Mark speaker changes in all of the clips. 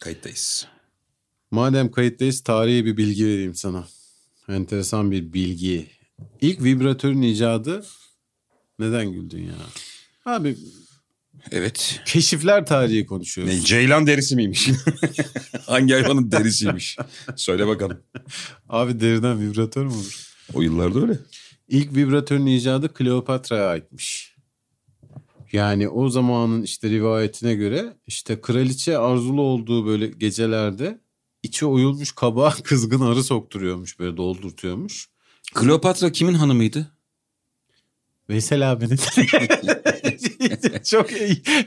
Speaker 1: Kayıttayız.
Speaker 2: Madem kayıttayız tarihi bir bilgi vereyim sana. Enteresan bir bilgi. İlk vibratörün icadı neden güldün ya? Abi
Speaker 1: Evet.
Speaker 2: keşifler tarihi konuşuyoruz.
Speaker 1: Ne, ceylan derisi miymiş? Hangi hayvanın derisiymiş? Söyle bakalım.
Speaker 2: Abi deriden vibratör mü olur?
Speaker 1: O yıllarda öyle.
Speaker 2: İlk vibratörün icadı Kleopatra'ya aitmiş. Yani o zamanın işte rivayetine göre işte kraliçe arzulu olduğu böyle gecelerde içi oyulmuş kabağa kızgın arı sokturuyormuş böyle doldurtuyormuş.
Speaker 1: Kleopatra kimin hanımıydı?
Speaker 2: Veysel abinin. çok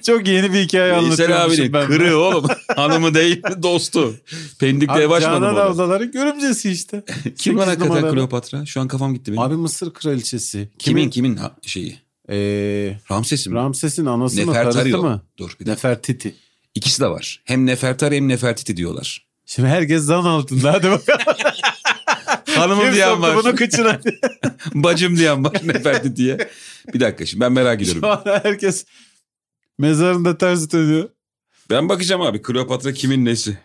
Speaker 2: çok yeni bir hikaye
Speaker 1: Veysel
Speaker 2: anlatıyormuşum
Speaker 1: abinin
Speaker 2: ben.
Speaker 1: kırığı oğlum. Hanımı değil dostu. Pendik'te ev
Speaker 2: Abi,
Speaker 1: açmadı
Speaker 2: Canan
Speaker 1: mı orada?
Speaker 2: ablaların görümcesi işte.
Speaker 1: Kim var
Speaker 2: Sekiz
Speaker 1: hakikaten
Speaker 2: numaralı.
Speaker 1: Kleopatra? Şu an kafam gitti benim.
Speaker 2: Abi Mısır kraliçesi.
Speaker 1: kimin kimin ha- şeyi?
Speaker 2: Ee,
Speaker 1: Ramses'i mi?
Speaker 2: Ramses'in anası mı
Speaker 1: Nefertari
Speaker 2: karısı
Speaker 1: o.
Speaker 2: mı?
Speaker 1: Dur bir dakika.
Speaker 2: Nefertiti.
Speaker 1: İkisi de var. Hem Nefertari hem Nefertiti diyorlar.
Speaker 2: Şimdi herkes zan altında hadi bakalım.
Speaker 1: Hanımım
Speaker 2: Kim
Speaker 1: diyen
Speaker 2: soktu
Speaker 1: var.
Speaker 2: bunu kıçına?
Speaker 1: Bacım diyen var Nefertiti diye. Bir dakika şimdi ben merak
Speaker 2: Şu
Speaker 1: ediyorum.
Speaker 2: an herkes mezarında ters dönüyor.
Speaker 1: Ben bakacağım abi Kleopatra kimin nesi?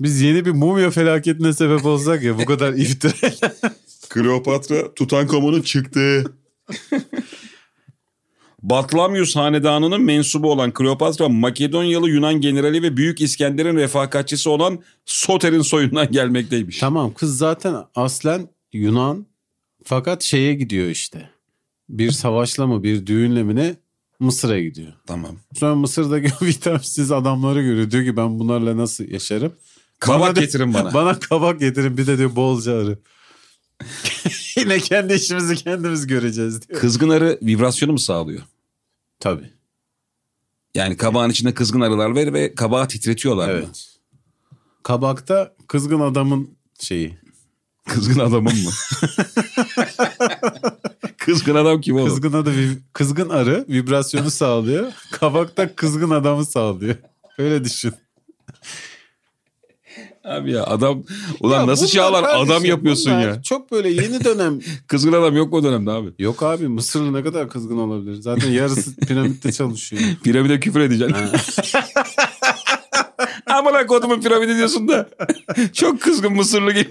Speaker 2: Biz yeni bir mumya felaketine sebep olsak ya bu kadar iftira.
Speaker 1: Kleopatra Tutankamon'un çıktığı. Batlamyus hanedanının mensubu olan Kleopatra Makedonyalı Yunan generali ve Büyük İskender'in refakatçisi olan Soter'in soyundan gelmekteymiş.
Speaker 2: Tamam kız zaten aslen Yunan fakat şeye gidiyor işte. Bir savaşla mı bir düğünle mi ne Mısır'a gidiyor.
Speaker 1: Tamam.
Speaker 2: Sonra Mısır'daki o vitaminsiz adamları görüyor. Diyor ki ben bunlarla nasıl yaşarım?
Speaker 1: Kavak
Speaker 2: da-
Speaker 1: getirin bana.
Speaker 2: Bana kabak getirin bir de diyor bolca arı. Yine kendi işimizi kendimiz göreceğiz diyor.
Speaker 1: Kızgın arı vibrasyonu mu sağlıyor?
Speaker 2: Tabii.
Speaker 1: Yani kabağın içinde kızgın arılar var ve kabağı titretiyorlar mı?
Speaker 2: Evet. Kabakta kızgın adamın şeyi.
Speaker 1: Kızgın adamım mı? kızgın adam kim oğlum?
Speaker 2: Kızgın adı vi- kızgın arı vibrasyonu sağlıyor. Kabakta kızgın adamı sağlıyor. Öyle düşün.
Speaker 1: Abi ya adam ulan
Speaker 2: Ya
Speaker 1: nasıl
Speaker 2: bunlar
Speaker 1: çağlar
Speaker 2: kardeşim,
Speaker 1: adam yapıyorsun
Speaker 2: bunlar
Speaker 1: ya.
Speaker 2: Çok böyle yeni dönem.
Speaker 1: Kızgın adam yok mu o dönemde abi?
Speaker 2: Yok abi Mısırlı ne kadar kızgın olabilir? Zaten yarısı piramitte çalışıyor.
Speaker 1: Piramide küfür edeceksin. Amına kodumun piramidi diyorsun da. Çok kızgın Mısırlı gibi.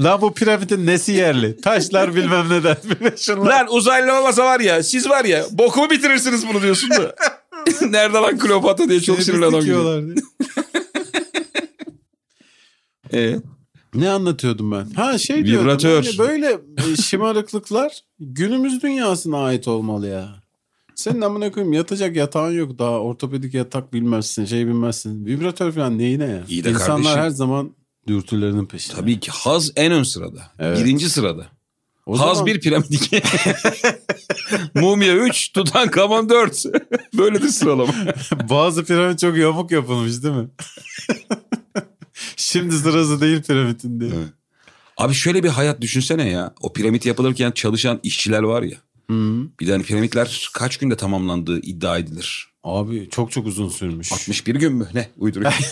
Speaker 2: Lan bu piramidin nesi yerli? Taşlar bilmem neden. Şunlar.
Speaker 1: Lan uzaylı olmasa var ya siz var ya bokumu bitirirsiniz bunu diyorsun da. Nerede lan Kleopatra diye çok sinirli adam geliyor.
Speaker 2: dikiyorlar diye.
Speaker 1: Ee,
Speaker 2: Ne anlatıyordum ben? Ha şey diyordum.
Speaker 1: Vibratör.
Speaker 2: hani Böyle e, şımarıklıklar günümüz dünyasına ait olmalı ya. Senin amına koyayım yatacak yatağın yok daha ortopedik yatak bilmezsin şey bilmezsin. Vibratör falan neyine ya?
Speaker 1: İyi de
Speaker 2: İnsanlar
Speaker 1: kardeşim.
Speaker 2: her zaman dürtülerinin peşinde.
Speaker 1: tabii ki haz en ön sırada.
Speaker 2: Evet.
Speaker 1: Birinci sırada.
Speaker 2: O
Speaker 1: haz
Speaker 2: zaman-
Speaker 1: 1 piramid 2. Mumya 3, Tutankamon 4. Böyledir sıralama.
Speaker 2: Bazı piramit çok yamuk yapılmış değil mi? Şimdi sırası değil piramidin diye.
Speaker 1: Evet. Abi şöyle bir hayat düşünsene ya. O piramit yapılırken çalışan işçiler var ya.
Speaker 2: Hı.
Speaker 1: Bir de hani piramitler kaç günde tamamlandığı iddia edilir.
Speaker 2: Abi çok çok uzun sürmüş.
Speaker 1: 61 gün mü? Ne? Uyduruyor.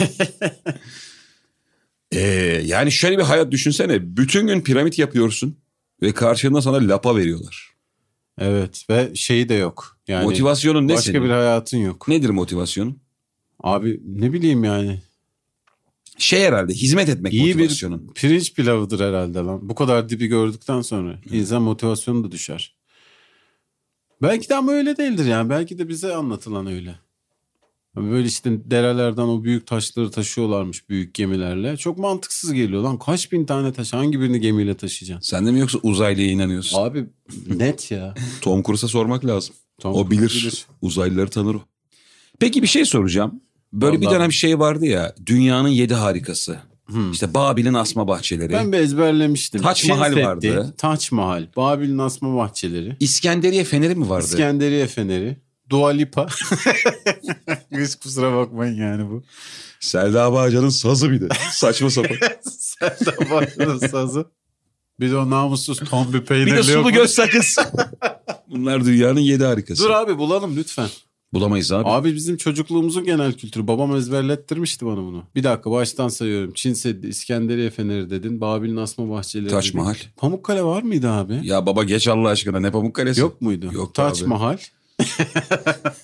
Speaker 1: Ee, yani şöyle bir hayat düşünsene. Bütün gün piramit yapıyorsun ve karşılığında sana lapa veriyorlar.
Speaker 2: Evet ve şeyi de yok. Yani
Speaker 1: Motivasyonun ne
Speaker 2: başka
Speaker 1: senin?
Speaker 2: bir hayatın yok.
Speaker 1: Nedir motivasyonun?
Speaker 2: Abi ne bileyim yani.
Speaker 1: Şey herhalde hizmet etmek
Speaker 2: İyi bir
Speaker 1: motivasyonun.
Speaker 2: pirinç pilavıdır herhalde lan. Bu kadar dibi gördükten sonra insan motivasyonu da düşer. Belki de ama öyle değildir yani. Belki de bize anlatılan öyle. Hani Böyle işte derelerden o büyük taşları taşıyorlarmış büyük gemilerle. Çok mantıksız geliyor lan. Kaç bin tane taş hangi birini gemiyle taşıyacaksın?
Speaker 1: Sen de mi yoksa uzaylıya inanıyorsun?
Speaker 2: Abi net ya.
Speaker 1: Tom Cruise'a sormak lazım.
Speaker 2: Tom
Speaker 1: O bilir.
Speaker 2: Cruise
Speaker 1: Uzaylıları tanır o. Peki bir şey soracağım. Böyle bir
Speaker 2: Vallahi-
Speaker 1: dönem şey vardı ya. Dünyanın yedi harikası.
Speaker 2: Hmm.
Speaker 1: İşte Babil'in asma bahçeleri.
Speaker 2: Ben bir ezberlemiştim.
Speaker 1: Taç
Speaker 2: Çin
Speaker 1: Mahal
Speaker 2: Seddi,
Speaker 1: vardı.
Speaker 2: Taç Mahal, Babil'in asma bahçeleri,
Speaker 1: İskenderiye feneri mi vardı?
Speaker 2: İskenderiye Feneri, Dua Lipa. Hiç kusura bakmayın yani bu.
Speaker 1: Selda Bağcan'ın sazı bir de. Saçma sapan.
Speaker 2: Selda Bağcan'ın sazı. Bir de o namussuz tombi peynirli
Speaker 1: bir de sulu
Speaker 2: yok.
Speaker 1: göz sakız. Bunlar dünyanın yedi harikası.
Speaker 2: Dur abi bulalım lütfen.
Speaker 1: Bulamayız abi.
Speaker 2: Abi bizim çocukluğumuzun genel kültürü. Babam ezberlettirmişti bana bunu. Bir dakika baştan sayıyorum. Çin Seddi, İskenderiye Feneri dedin. Babil'in asma bahçeleri
Speaker 1: Taç
Speaker 2: dedin.
Speaker 1: Mahal.
Speaker 2: Pamukkale var mıydı abi?
Speaker 1: Ya baba geç Allah aşkına ne Pamukkale'si.
Speaker 2: Yok muydu?
Speaker 1: Yok
Speaker 2: Taç
Speaker 1: abi.
Speaker 2: Mahal.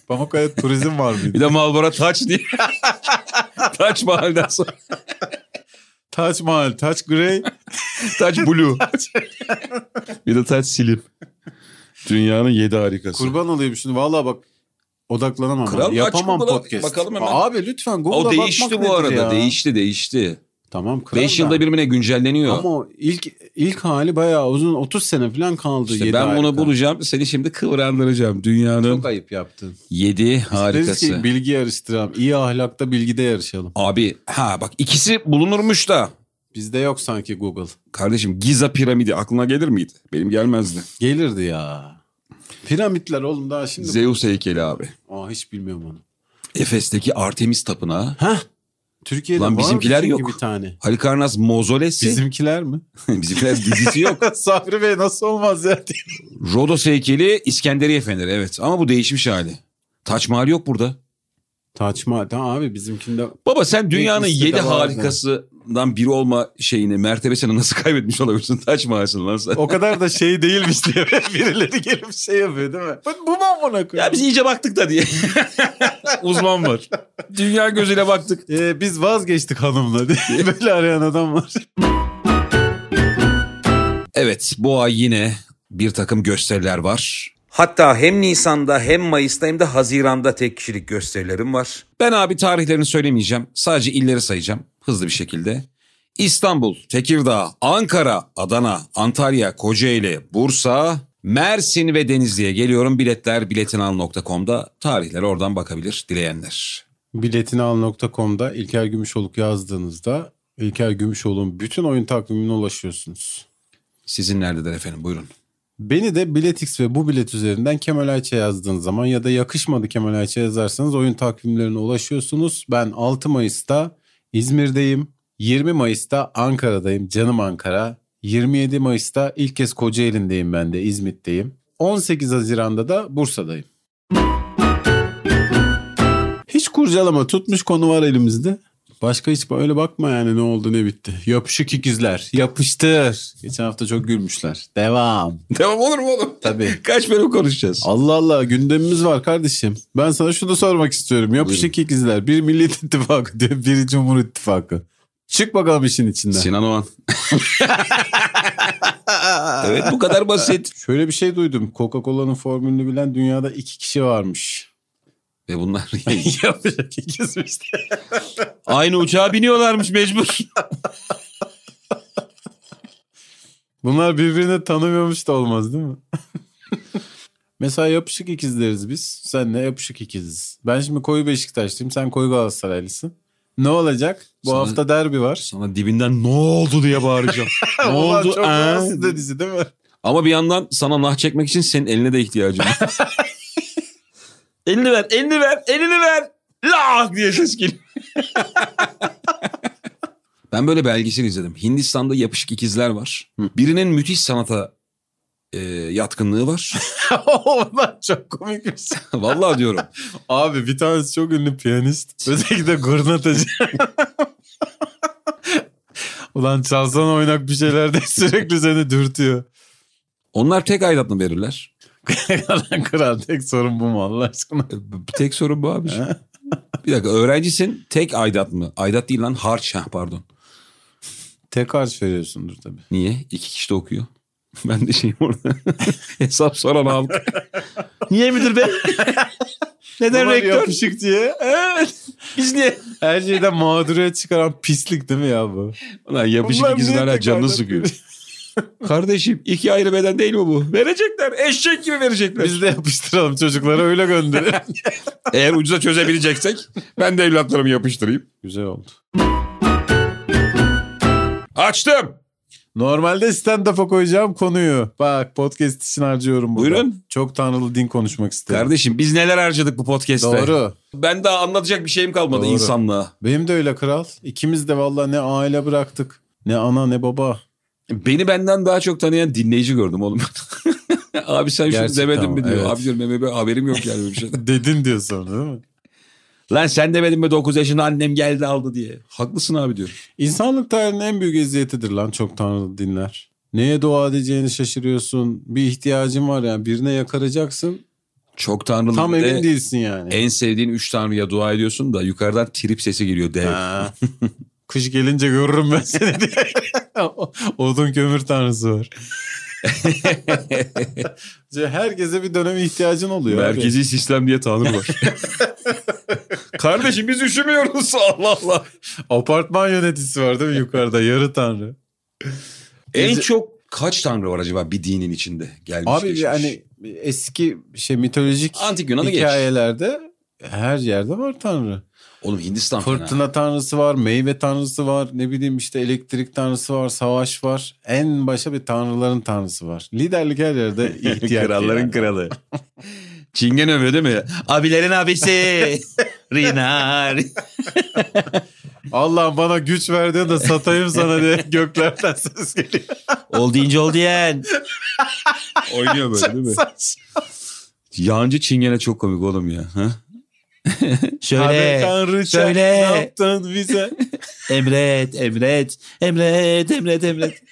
Speaker 2: Pamukkale turizm var mıydı?
Speaker 1: Bir de Malbora Taç diye. Taç Mahal'den sonra.
Speaker 2: Taç Mahal, Taç Grey.
Speaker 1: Taç Blue. bir de Taç Silim. Dünyanın yedi harikası.
Speaker 2: Kurban olayım şimdi. Vallahi bak odaklanamam.
Speaker 1: Kral
Speaker 2: abi.
Speaker 1: aç
Speaker 2: Yapamam
Speaker 1: Google'a,
Speaker 2: podcast.
Speaker 1: bakalım hemen.
Speaker 2: Abi lütfen Google'a
Speaker 1: o
Speaker 2: bakmak
Speaker 1: değişti bu
Speaker 2: nedir
Speaker 1: arada.
Speaker 2: ya?
Speaker 1: Değişti değişti.
Speaker 2: Tamam kral
Speaker 1: 5
Speaker 2: da.
Speaker 1: yılda birbirine güncelleniyor.
Speaker 2: Ama o ilk ilk hali bayağı uzun 30 sene falan kaldı.
Speaker 1: İşte
Speaker 2: yedi
Speaker 1: ben bunu
Speaker 2: harika.
Speaker 1: bulacağım. Seni şimdi kıvrandıracağım. Dünyanın
Speaker 2: Çok ayıp yaptın.
Speaker 1: 7
Speaker 2: Deriz ki
Speaker 1: harikası.
Speaker 2: bilgi yarıştıralım. İyi ahlakta bilgide yarışalım.
Speaker 1: Abi ha bak ikisi bulunurmuş da.
Speaker 2: Bizde yok sanki Google.
Speaker 1: Kardeşim Giza piramidi aklına gelir miydi? Benim gelmezdi.
Speaker 2: Gelirdi ya. Piramitler oğlum daha şimdi.
Speaker 1: Zeus heykeli abi.
Speaker 2: Aa hiç bilmiyorum onu.
Speaker 1: Efes'teki Artemis tapınağı.
Speaker 2: Heh. Türkiye'de
Speaker 1: Lan
Speaker 2: var mı
Speaker 1: bizimkiler
Speaker 2: çünkü
Speaker 1: yok. Şey-
Speaker 2: bir tane.
Speaker 1: Halikarnas mozolesi.
Speaker 2: Bizimkiler mi?
Speaker 1: Bizimkiler dizisi yok.
Speaker 2: Sabri Bey nasıl olmaz ya
Speaker 1: Rodos heykeli İskenderiye feneri evet. Ama bu değişmiş hali. Taç Mahal yok burada.
Speaker 2: Taçma tamam abi bizimkinde
Speaker 1: Baba sen dünyanın
Speaker 2: İkisi de
Speaker 1: 7
Speaker 2: var
Speaker 1: harikasından biri olma şeyini, mertebesini nasıl kaybetmiş olabilirsin? Taç Mahal'sın lan sen.
Speaker 2: o kadar da şey değilmiş diye birileri gelip şey yapıyor değil mi? Bu, bu mu amına koyayım?
Speaker 1: Ya biz iyice baktık da diye. Uzman var. Dünya gözüyle baktık.
Speaker 2: Ee, biz vazgeçtik hanımla diye böyle arayan adam var.
Speaker 1: Evet bu ay yine bir takım gösteriler var.
Speaker 3: Hatta hem Nisan'da hem Mayıs'ta hem de Haziran'da tek kişilik gösterilerim var.
Speaker 1: Ben abi tarihlerini söylemeyeceğim. Sadece illeri sayacağım hızlı bir şekilde. İstanbul, Tekirdağ, Ankara, Adana, Antalya, Kocaeli, Bursa, Mersin ve Denizli'ye geliyorum. Biletler biletinal.com'da. Tarihleri oradan bakabilir dileyenler.
Speaker 2: Biletinial.com'da İlker Gümüşoluk yazdığınızda İlker Gümüşoluk'un bütün oyun takvimine ulaşıyorsunuz.
Speaker 1: Sizin nerededir efendim buyurun.
Speaker 2: Beni de Biletix ve bu bilet üzerinden Kemal Ayça yazdığınız zaman ya da yakışmadı Kemal Ayça yazarsanız oyun takvimlerine ulaşıyorsunuz. Ben 6 Mayıs'ta İzmir'deyim. 20 Mayıs'ta Ankara'dayım. Canım Ankara. 27 Mayıs'ta ilk kez Kocaeli'ndeyim ben de İzmit'teyim. 18 Haziran'da da Bursa'dayım. Hiç kurcalama tutmuş konu var elimizde. Başka hiç öyle bakma yani ne oldu ne bitti. Yapışık ikizler yapıştır. Geçen hafta çok gülmüşler. Devam.
Speaker 1: Devam olur mu oğlum?
Speaker 2: Tabii.
Speaker 1: Kaç bölüm konuşacağız?
Speaker 2: Allah Allah gündemimiz var kardeşim. Ben sana şunu sormak istiyorum. Yapışık ikizler. Bir Millet İttifakı diyor. Biri Cumhur İttifakı. Çık bakalım işin içinden.
Speaker 1: Sinan Oğan. evet bu kadar basit.
Speaker 2: Şöyle bir şey duydum. Coca-Cola'nın formülünü bilen dünyada iki kişi varmış.
Speaker 1: Ve bunlar
Speaker 2: Yapışık ikizmiş.
Speaker 1: aynı uçağa biniyorlarmış mecbur.
Speaker 2: Bunlar birbirini tanımıyormuş da olmaz değil mi? Mesela yapışık ikizleriz biz. Senle yapışık ikiziz. Ben şimdi koyu Beşiktaşlıyım. Sen koyu Galatasaraylısın. Ne olacak? Bu
Speaker 1: Sana-
Speaker 2: hafta derbi var.
Speaker 1: Sana dibinden ne oldu diye bağıracağım. ne
Speaker 2: Ulan
Speaker 1: oldu?
Speaker 2: Çok
Speaker 1: ee?
Speaker 2: rahatsız edici değil mi?
Speaker 1: Ama bir yandan sana nah çekmek için senin eline de ihtiyacım var. elini ver, elini ver, elini ver. Lah diye ses geliyor. ben böyle belgesel izledim. Hindistan'da yapışık ikizler var. Birinin müthiş sanata e, yatkınlığı var.
Speaker 2: Onlar çok şey. komikmiş.
Speaker 1: Vallahi diyorum.
Speaker 2: Abi bir tanesi çok ünlü piyanist. Öteki de gurnatacı. Ulan çalsan oynak bir şeyler de sürekli seni dürtüyor.
Speaker 1: Onlar tek aidatını verirler.
Speaker 2: Yalan kral tek sorun bu mu Allah aşkına?
Speaker 1: E, b- Tek sorun bu abi. bir dakika öğrencisin tek aidat mı? Aidat değil lan harç ha pardon.
Speaker 2: Tek harç veriyorsundur tabii.
Speaker 1: Niye? İki kişi de okuyor. Ben de şeyim orada. Hesap soran halk. niye müdür be? Neden
Speaker 2: Bunlar
Speaker 1: rektör?
Speaker 2: yapışık diye. Evet.
Speaker 1: Biz niye?
Speaker 2: Her şeyden mağduriyet çıkaran pislik değil mi ya bu?
Speaker 1: Ulan yapışık
Speaker 2: Bunlar
Speaker 1: ikizler
Speaker 2: niye
Speaker 1: hala
Speaker 2: tek
Speaker 1: canını
Speaker 2: aidat
Speaker 1: sıkıyor. Kardeşim iki ayrı beden değil mi bu? Verecekler. Eşek gibi verecekler.
Speaker 2: Biz de yapıştıralım çocuklara öyle gönderelim.
Speaker 1: Eğer ucuza çözebileceksek ben de evlatlarımı yapıştırayım.
Speaker 2: Güzel oldu.
Speaker 1: Açtım.
Speaker 2: Normalde stand-up'a koyacağım konuyu. Bak podcast için harcıyorum burada.
Speaker 1: Buyurun.
Speaker 2: Çok tanrılı din konuşmak isterim.
Speaker 1: Kardeşim biz neler harcadık bu podcast'te.
Speaker 2: Doğru.
Speaker 1: Ben daha anlatacak bir şeyim kalmadı
Speaker 2: Doğru.
Speaker 1: insanlığa.
Speaker 2: Benim de öyle kral. İkimiz de vallahi ne aile bıraktık. Ne ana ne baba.
Speaker 1: Beni benden daha çok tanıyan dinleyici gördüm oğlum. abi sen şunu
Speaker 2: Gerçekten
Speaker 1: demedin mi
Speaker 2: ama,
Speaker 1: diyor.
Speaker 2: evet.
Speaker 1: Abi diyorum "Meme, ben haberim yok yani böyle bir şey. şeyden.
Speaker 2: Dedin diyor sonra değil mi?
Speaker 1: Lan sen demedin mi 9 yaşında annem geldi aldı diye. Haklısın abi diyor.
Speaker 2: İnsanlık tarihinin en büyük eziyetidir lan çok tanrılı dinler. Neye dua edeceğini şaşırıyorsun. Bir ihtiyacın var yani birine yakaracaksın.
Speaker 1: Çok tanrılı
Speaker 2: Tam
Speaker 1: bir de
Speaker 2: emin değilsin yani.
Speaker 1: en sevdiğin üç tanrıya dua ediyorsun da yukarıdan trip sesi geliyor dev.
Speaker 2: Ha. Kış gelince görürüm ben seni diye. Odun kömür tanrısı var. Şey, Herkese bir döneme ihtiyacın oluyor. abi.
Speaker 1: Merkezi sistem diye tanrı var. Kardeşim biz üşümüyoruz Allah Allah.
Speaker 2: Apartman yöneticisi var değil mi yukarıda? Yarı tanrı.
Speaker 1: En
Speaker 2: Gece-
Speaker 1: çok kaç tanrı var acaba bir dinin içinde gelmiş
Speaker 2: Abi
Speaker 1: geçmiş?
Speaker 2: yani eski şey mitolojik
Speaker 1: Antik Yunan'ı geç.
Speaker 2: hikayelerde her yerde var tanrı.
Speaker 1: Oğlum Hindistan fena.
Speaker 2: Fırtına tanrısı var, meyve tanrısı var, ne bileyim işte elektrik tanrısı var, savaş var. En başa bir tanrıların tanrısı var. Liderlik her yerde ihtiyaç. yani.
Speaker 1: kralı. Çingen övüyor değil mi? Abilerin abisi. Rinar.
Speaker 2: Allah bana güç verdin de satayım sana diye göklerden ses geliyor.
Speaker 1: Ol deyince ol diyen. Oynuyor böyle değil mi? Yancı Çingene çok komik oğlum ya. Ha?
Speaker 2: Abi tanrıça
Speaker 1: söyle.
Speaker 2: ne yaptın bize?
Speaker 1: Emret, emret, emret, emret, emret.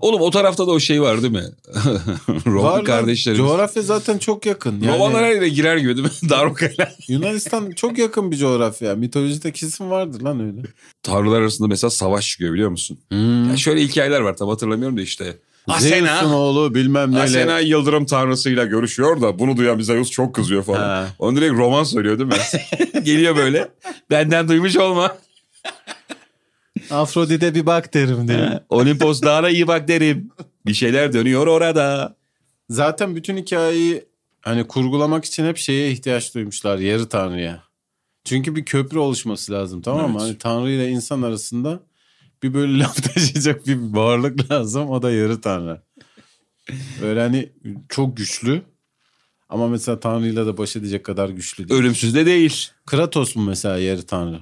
Speaker 1: Oğlum o tarafta da o şey var değil mi?
Speaker 2: Var
Speaker 1: Roman
Speaker 2: lan,
Speaker 1: kardeşlerimiz.
Speaker 2: Coğrafya zaten çok yakın. Yani
Speaker 1: Romanlar her yere girer gibi değil mi? Darbukayla.
Speaker 2: Yunanistan çok yakın bir coğrafya. Mitolojide kesin vardır lan öyle.
Speaker 1: Tanrılar arasında mesela savaş çıkıyor biliyor musun? Ya şöyle hikayeler var tam hatırlamıyorum da işte.
Speaker 2: Zeus'un
Speaker 1: Hmm. Asena,
Speaker 2: oğlu bilmem neyle.
Speaker 1: Asena Yıldırım Tanrısı'yla görüşüyor da bunu duyan bize Zeus çok kızıyor falan.
Speaker 2: Ha.
Speaker 1: Onu direkt roman söylüyor değil mi? Geliyor böyle. Benden duymuş olma.
Speaker 2: Afrodit'e bir bak derim diye.
Speaker 1: Olimpos dağına iyi bak derim. Bir şeyler dönüyor orada.
Speaker 2: Zaten bütün hikayeyi hani kurgulamak için hep şeye ihtiyaç duymuşlar. Yarı tanrıya. Çünkü bir köprü oluşması lazım tamam mı?
Speaker 1: Evet.
Speaker 2: Hani tanrı ile insan arasında bir böyle laf taşıyacak bir varlık lazım. O da yarı tanrı. Böyle hani çok güçlü. Ama mesela tanrıyla da baş edecek kadar güçlü değil.
Speaker 1: Ölümsüz de değil.
Speaker 2: Kratos mu mesela yarı tanrı?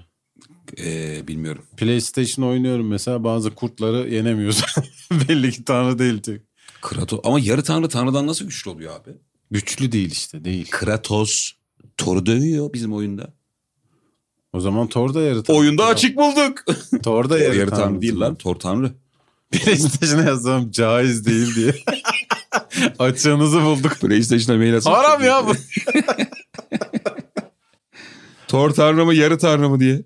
Speaker 1: Ee, bilmiyorum.
Speaker 2: PlayStation oynuyorum mesela bazı kurtları yenemiyorsun. Belli ki tanrı değil tek.
Speaker 1: Kratos. Ama yarı tanrı tanrıdan nasıl güçlü oluyor abi?
Speaker 2: Güçlü değil işte değil.
Speaker 1: Kratos Thor'u dövüyor bizim oyunda.
Speaker 2: O zaman Thor da yarı tanrı.
Speaker 1: Oyunda açık bulduk.
Speaker 2: Thor da yarı,
Speaker 1: yarı tanrı değil
Speaker 2: değil
Speaker 1: lan. Thor tanrı.
Speaker 2: PlayStation'a yazsam caiz değil diye. Açığınızı bulduk.
Speaker 1: PlayStation'a mail atın.
Speaker 2: Haram ya bu.
Speaker 1: Thor tanrı mı yarı tanrı mı diye.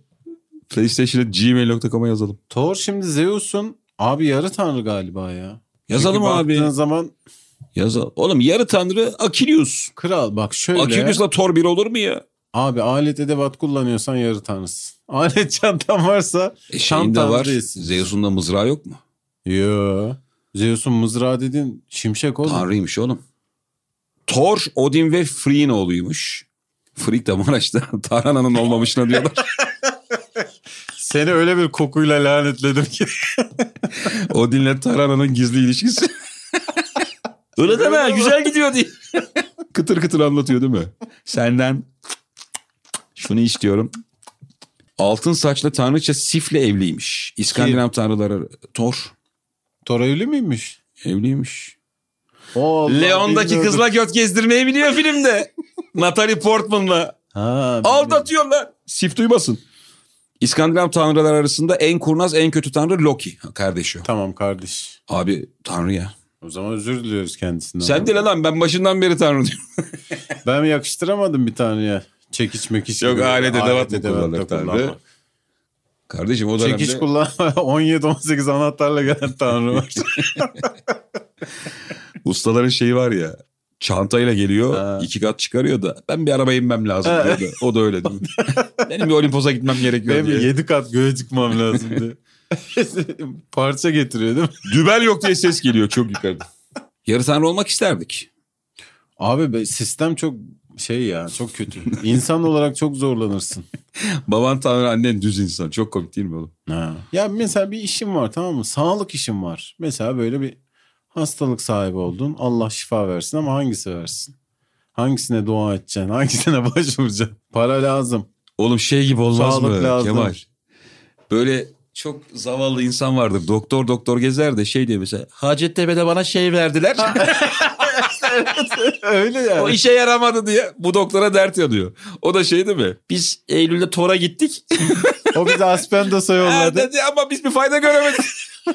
Speaker 1: PlayStation'a gmail.com'a yazalım.
Speaker 2: Thor şimdi Zeus'un abi yarı tanrı galiba ya.
Speaker 1: Yazalım
Speaker 2: Çünkü
Speaker 1: abi.
Speaker 2: Baktığın zaman
Speaker 1: Yazalım. Oğlum yarı tanrı Akilius.
Speaker 2: kral bak şöyle.
Speaker 1: Akilius'la Thor bir olur mu ya?
Speaker 2: Abi alet edevat kullanıyorsan yarı tanrısın. Alet çantan varsa
Speaker 1: E
Speaker 2: tam
Speaker 1: şeyin de
Speaker 2: tanrı
Speaker 1: var.
Speaker 2: değilsin.
Speaker 1: Zeus'un da mızrağı yok mu?
Speaker 2: Yo. Zeus'un mızrağı dedin şimşek oğlum.
Speaker 1: Tanrıymış oğlum. Thor, Odin ve Free'in oğluymuş. Freak de Maraş'ta Tarhana'nın olmamışına diyorlar.
Speaker 2: Seni öyle bir kokuyla lanetledim ki.
Speaker 1: Odin'le Tarhana'nın gizli ilişkisi. Öyle deme güzel gidiyor diye. kıtır kıtır anlatıyor değil mi? Senden şunu istiyorum. Altın saçlı tanrıça Sif'le evliymiş. İskandinav tanrıları Thor
Speaker 2: Thor evli miymiş?
Speaker 1: evliymiş.
Speaker 2: Oo, Allah,
Speaker 1: Leon'daki
Speaker 2: bilmiyordum.
Speaker 1: kızla göt gezdirmeyi biliyor filmde. Natalie Portman'la.
Speaker 2: Ha, bilmiyordum.
Speaker 1: Aldatıyorlar. Sif duymasın. İskandinav tanrılar arasında en kurnaz en kötü tanrı Loki kardeşi. o.
Speaker 2: Tamam kardeş.
Speaker 1: Abi tanrı ya.
Speaker 2: O zaman özür diliyoruz kendisinden.
Speaker 1: Sen de lan ben başından beri tanrı diyorum.
Speaker 2: Ben yakıştıramadım bir taneye. Çekiç mekiç.
Speaker 1: Yok,
Speaker 2: gibi.
Speaker 1: alet edevat da
Speaker 2: da
Speaker 1: kullanır tanrı.
Speaker 2: kullanma.
Speaker 1: Kardeşim o dönemde
Speaker 2: Çekiç kullan 17-18 anahtarla gelen tanrı var.
Speaker 1: ustaların şeyi var ya. Çantayla geliyor
Speaker 2: Ha.
Speaker 1: iki kat çıkarıyor da ben bir araba inmem lazım
Speaker 2: Ha.
Speaker 1: diyor da. O da öyle değil mi? Benim bir Olimpos'a gitmem gerekiyor
Speaker 2: Benim
Speaker 1: diye.
Speaker 2: 7 kat göğe çıkmam lazım diye. Parça getiriyor değil mi?
Speaker 1: Dübel yok diye ses geliyor çok yukarıda. Yarı tanrı olmak isterdik.
Speaker 2: Abi be, sistem çok şey ya çok kötü. İnsan olarak çok zorlanırsın.
Speaker 1: Baban tanrı annen düz insan. Çok komik değil mi oğlum?
Speaker 2: Ya mesela bir işim var tamam mı? Sağlık işim var. Mesela böyle bir hastalık sahibi oldun. Allah şifa versin ama hangisi versin? Hangisine dua edeceksin? Hangisine başvuracaksın? Para lazım.
Speaker 1: Oğlum şey gibi olmaz
Speaker 2: Sağlık
Speaker 1: mı
Speaker 2: lazım.
Speaker 1: Kemal? Böyle çok zavallı insan vardır. Doktor doktor gezer de şey diyor mesela. Hacettepe'de bana şey verdiler.
Speaker 2: Öyle
Speaker 1: o
Speaker 2: yani.
Speaker 1: işe yaramadı diye bu doktora dert yanıyor. O da şey değil mi? Biz Eylül'de Tor'a gittik.
Speaker 2: O bize Aspendos'a
Speaker 1: Ha,
Speaker 2: yolladı.
Speaker 1: dedi, ama biz bir fayda göremedik.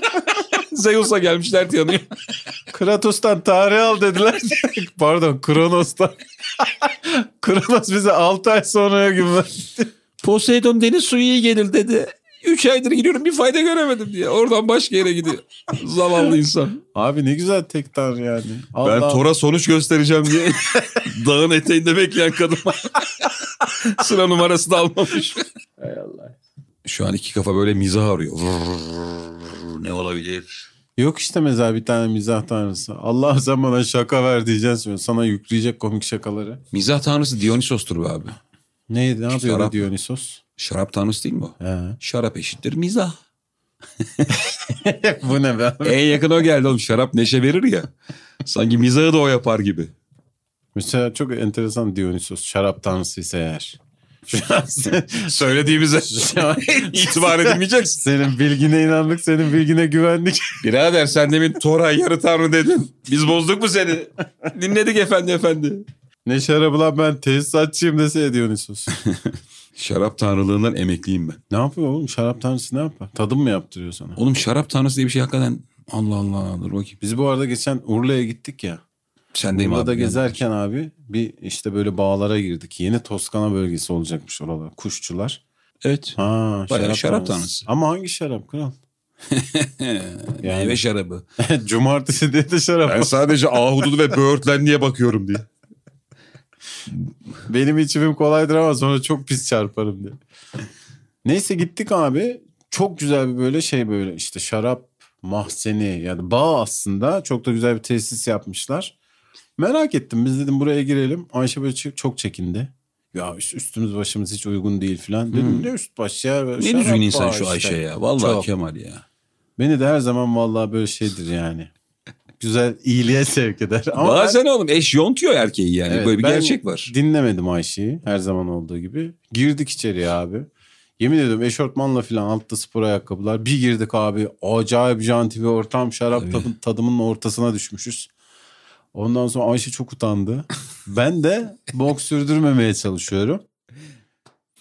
Speaker 1: Zeus'a gelmişler diye yanıyor.
Speaker 2: Kratos'tan tarih al dediler. Pardon Kronos'tan. Kronos bize 6 ay sonraya güven.
Speaker 1: Poseidon deniz suyu iyi gelir dedi. Üç aydır gidiyorum bir fayda göremedim diye. Oradan başka yere gidiyor. Zavallı insan.
Speaker 2: Abi ne güzel tek tanrı yani. Allah
Speaker 1: Ben Tora sonuç göstereceğim diye dağın eteğinde bekleyen kadın. Sıra numarası da almamış.
Speaker 2: Hay Allah.
Speaker 1: Şu an iki kafa böyle mizah arıyor. Vrrr, ne olabilir?
Speaker 2: Yok işte mesela bir tane mizah tanrısı. Allah sen bana şaka ver diyeceksin. Sana yükleyecek komik şakaları.
Speaker 1: Mizah tanrısı Dionysos'tur be abi.
Speaker 2: Neydi ne yapıyor
Speaker 1: Şarap.
Speaker 2: be Dionysos?
Speaker 1: Şarap tanrısı değil mi o?
Speaker 2: He.
Speaker 1: Şarap eşittir mizah.
Speaker 2: Bu ne be abi?
Speaker 1: En yakın o geldi oğlum. Şarap neşe verir ya. Sanki mizahı da o yapar gibi.
Speaker 2: Mesela çok enteresan Dionysos. Şarap tanrısı ise eğer. Şu an sen-
Speaker 1: Söylediğimize
Speaker 2: şu an
Speaker 1: itibar edilmeyeceksin.
Speaker 2: senin bilgine inandık, senin bilgine güvendik.
Speaker 1: Birader sen demin Toray yarı tanrı dedin. Biz bozduk mu seni? Dinledik efendi efendi.
Speaker 2: Ne şarabı lan ben tesisatçıyım dese Dionysos.
Speaker 1: Şarap tanrılığından emekliyim ben.
Speaker 2: ne yapıyor oğlum? Şarap tanrısı ne yapar? Tadım mı yaptırıyor sana?
Speaker 1: Oğlum şarap tanrısı diye bir şey hakikaten... Allah Allah dur bakayım.
Speaker 2: Biz bu arada geçen Urla'ya gittik ya.
Speaker 1: Sendeyim
Speaker 2: Urla'da
Speaker 1: abi.
Speaker 2: gezerken abi bir işte böyle bağlara girdik. Yeni Toskana bölgesi olacakmış oralar. Kuşçular.
Speaker 1: Evet.
Speaker 2: Ha,
Speaker 1: Bayağı şarap tanrısı.
Speaker 2: Ama hangi şarap kral?
Speaker 1: Meyve şarabı.
Speaker 2: Cumartesi diye de şarap. var.
Speaker 1: sadece ahududu ve böğürtlendiye bakıyorum diye.
Speaker 2: Benim içimim kolaydır ama sonra çok pis çarparım diye. Neyse gittik abi. Çok güzel bir böyle şey böyle işte şarap mahzeni yani bağ aslında. Çok da güzel bir tesis yapmışlar. Merak ettim biz dedim buraya girelim. Ayşe böyle çe- çok çekindi. Ya üst- üstümüz başımız hiç uygun değil filan. Dedim ne üst baş ya.
Speaker 1: Hmm. Ne düzgün insan şu Ayşe ya. Vallahi
Speaker 2: Çok.
Speaker 1: Kemal ya.
Speaker 2: Beni de her zaman vallahi böyle şeydir yani. Güzel iyiliğe sevk eder. Ama ben-
Speaker 1: Bazen oğlum eş yontuyor erkeği yani.
Speaker 2: Evet,
Speaker 1: Böyle bir
Speaker 2: ben
Speaker 1: gerçek var.
Speaker 2: Dinlemedim Ayşe'yi her zaman olduğu gibi. Girdik içeriye abi. Yemin ediyorum eşortmanla falan altta spor ayakkabılar. Bir girdik abi. Acayip janti bir ortam. Şarap tadı- tadımının ortasına düşmüşüz. Ondan sonra Ayşe çok utandı. Ben de bok sürdürmemeye çalışıyorum.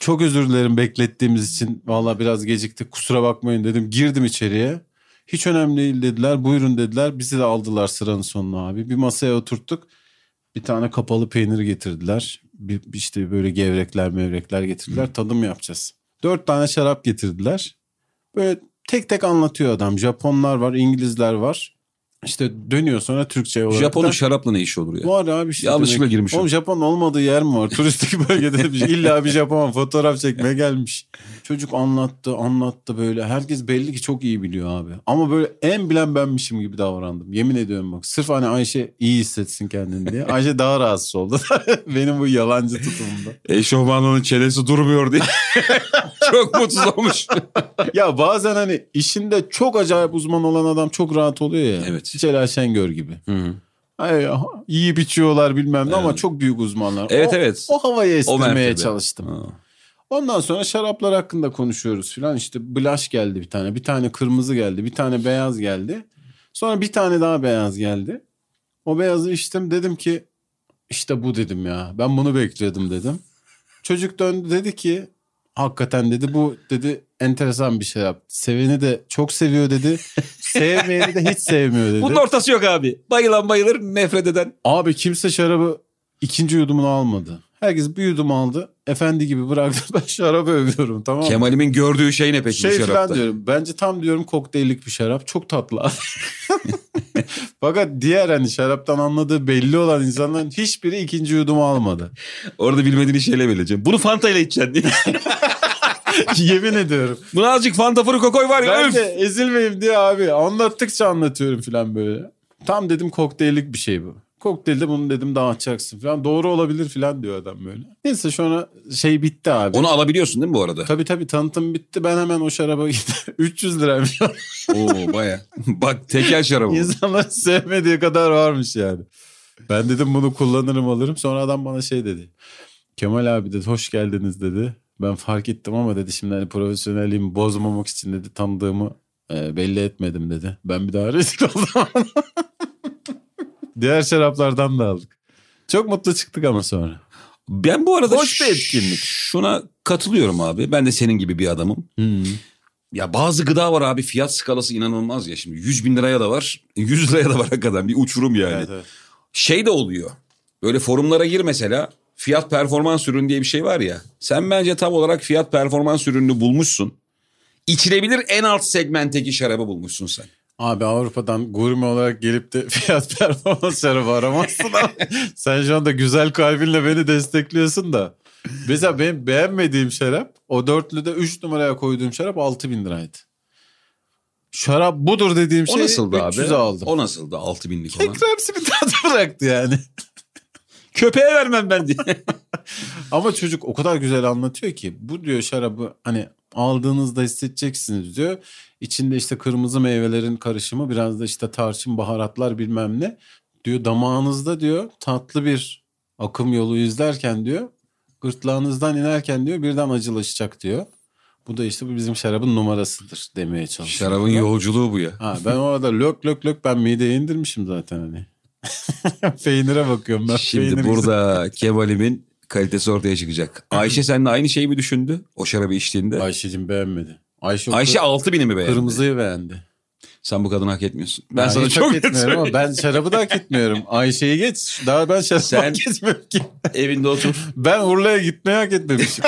Speaker 2: Çok özür dilerim beklettiğimiz için. Valla biraz geciktik kusura bakmayın dedim. Girdim içeriye. Hiç önemli değil dediler. Buyurun dediler. Bizi de aldılar sıranın sonuna abi. Bir masaya oturttuk. Bir tane kapalı peynir getirdiler. Bir, bir işte böyle gevrekler mevrekler getirdiler. Tadım yapacağız. Dört tane şarap getirdiler. Böyle tek tek anlatıyor adam. Japonlar var, İngilizler var. İşte dönüyor sonra Türkçe olarak.
Speaker 1: Japon'un
Speaker 2: da-
Speaker 1: şarapla ne işi olur ya?
Speaker 2: Var abi işte.
Speaker 1: Yanlışlıkla
Speaker 2: demek.
Speaker 1: girmiş
Speaker 2: Oğlum
Speaker 1: o.
Speaker 2: Japon olmadığı yer mi var? Turistik bölgede bir şey. illa bir Japon fotoğraf çekmeye gelmiş. Çocuk anlattı anlattı böyle. Herkes belli ki çok iyi biliyor abi. Ama böyle en bilen benmişim gibi davrandım. Yemin ediyorum bak. Sırf hani Ayşe iyi hissetsin kendini diye. Ayşe daha rahatsız oldu. Benim bu yalancı tutumumda.
Speaker 1: Eşofmanlığının çenesi durmuyor diye. Çok mutsuz olmuş.
Speaker 2: ya bazen hani işinde çok acayip uzman olan adam çok rahat oluyor ya.
Speaker 1: Evet.
Speaker 2: Celal Şengör gibi. Ay, iyi biçiyorlar bilmem ne ama
Speaker 1: Evet.
Speaker 2: çok büyük uzmanlar.
Speaker 1: Evet,
Speaker 2: O-
Speaker 1: evet.
Speaker 2: O havayı estirmeye
Speaker 1: mertebe.
Speaker 2: çalıştım. Ondan sonra şaraplar hakkında konuşuyoruz filan. İşte blush geldi bir tane. Bir tane kırmızı geldi. Bir tane beyaz geldi. Sonra bir tane daha beyaz geldi. O beyazı içtim. Dedim ki işte bu dedim ya. Ben bunu bekledim dedim. Çocuk döndü dedi ki hakikaten dedi bu dedi enteresan bir şey yaptı. Seveni de çok seviyor dedi. Sevmeyeni de hiç sevmiyor dedi.
Speaker 1: Bunun ortası yok abi. Bayılan bayılır, nefret eden.
Speaker 2: Abi kimse şarabı ikinci yudumunu almadı. Herkes bir yudum aldı. Efendi gibi bıraktı. Ben şarabı övüyorum tamam mı?
Speaker 1: Kemal'imin gördüğü şey ne peki
Speaker 2: şey
Speaker 1: bu
Speaker 2: falan
Speaker 1: şarapta?
Speaker 2: diyorum. Bence tam diyorum kokteyllik bir şarap. Çok tatlı. Fakat diğer hani şaraptan anladığı belli olan insanların hiçbiri ikinci yudumu almadı.
Speaker 1: Orada bilmediğin şeyle vereceğim. Bunu Fanta ile içeceksin diye.
Speaker 2: Yemin ediyorum.
Speaker 1: Buna azıcık Fanta Fruko koy var ya.
Speaker 2: Ben
Speaker 1: öf!
Speaker 2: de ezilmeyeyim diye abi anlattıkça anlatıyorum falan böyle. Tam dedim kokteyllik bir şey bu. Kokteylde bunu dedim dağıtacaksın falan. Doğru olabilir falan diyor adam böyle. Neyse sonra şey bitti abi.
Speaker 1: Onu alabiliyorsun değil mi bu arada?
Speaker 2: Tabii tabii tanıtım bitti. Ben hemen o şaraba gittim. 300 liraymış.
Speaker 1: Oo baya. Bak tekel şarabı. bu.
Speaker 2: İnsanların sevmediği kadar varmış yani. Ben dedim bunu kullanırım alırım. Sonra adam bana şey dedi. Kemal abi dedi hoş geldiniz dedi. Ben fark ettim ama dedi şimdi hani profesyonelliğimi bozmamak için dedi tanıdığımı e, belli etmedim dedi. Ben bir daha rezil oldum. Diğer şaraplardan da aldık. Çok mutlu çıktık ama sonra.
Speaker 1: Ben bu arada
Speaker 2: Hoş bir
Speaker 1: ş-
Speaker 2: etkinlik.
Speaker 1: Şuna katılıyorum abi. Ben de senin gibi bir adamım. Ya bazı gıda var abi fiyat skalası inanılmaz ya şimdi 100 bin liraya da var 100 liraya da var hakikaten bir uçurum yani.
Speaker 2: Evet, evet.
Speaker 1: Şey de oluyor böyle forumlara gir mesela fiyat performans ürün diye bir şey var ya. Sen bence tam olarak fiyat performans ürününü bulmuşsun. İçilebilir en alt segmentteki şarabı bulmuşsun sen.
Speaker 2: Abi Avrupa'dan gurme olarak gelip de fiyat performans şarabı aramazsın ama sen şu anda güzel kalbinle beni destekliyorsun da. Mesela benim beğenmediğim şarap o dörtlüde 3 numaraya koyduğum şarap 6000 liraydı. Şarap budur dediğim
Speaker 1: O
Speaker 2: şey
Speaker 1: nasıldı abi?
Speaker 2: 300'e aldım.
Speaker 1: O nasıldı 6 binlik olan?
Speaker 2: Ekremsi bir tadı bıraktı yani.
Speaker 1: Köpeğe vermem ben diye.
Speaker 2: Ama çocuk o kadar güzel anlatıyor ki bu diyor şarabı hani aldığınızda hissedeceksiniz diyor. İçinde işte kırmızı meyvelerin karışımı biraz da işte tarçın baharatlar bilmem ne. Diyor damağınızda diyor tatlı bir akım yolu izlerken diyor gırtlağınızdan inerken diyor birden acılaşacak diyor. Bu da işte bu bizim şarabın numarasıdır demeye çalışıyor.
Speaker 1: Şarabın yolculuğu bu ya.
Speaker 2: Ha, ben orada lök lök lök ben mideye indirmişim zaten hani. Peynire bakıyorum ben.
Speaker 1: Şimdi
Speaker 2: peynir
Speaker 1: burada kebalimin kalitesi ortaya çıkacak. Ayşe seninle aynı şeyi mi düşündü o şarabı içtiğinde?
Speaker 2: Ayşe'cim beğenmedi. Ayşe, o
Speaker 1: Ayşe 6000'i mi beğendi?
Speaker 2: Kırmızıyı beğendi.
Speaker 1: Sen bu kadını hak etmiyorsun. Ben
Speaker 2: Ya
Speaker 1: sana
Speaker 2: hiç
Speaker 1: çok
Speaker 2: hak
Speaker 1: net
Speaker 2: etmiyorum ama
Speaker 1: söyleyeyim.
Speaker 2: ben şarabı da hak etmiyorum. Ayşe'yi geç. Daha ben şarabı
Speaker 1: Sen-
Speaker 2: hak etmiyorum ki.
Speaker 1: Evinde otur.
Speaker 2: Ben Urla'ya gitmeye hak etmemişim.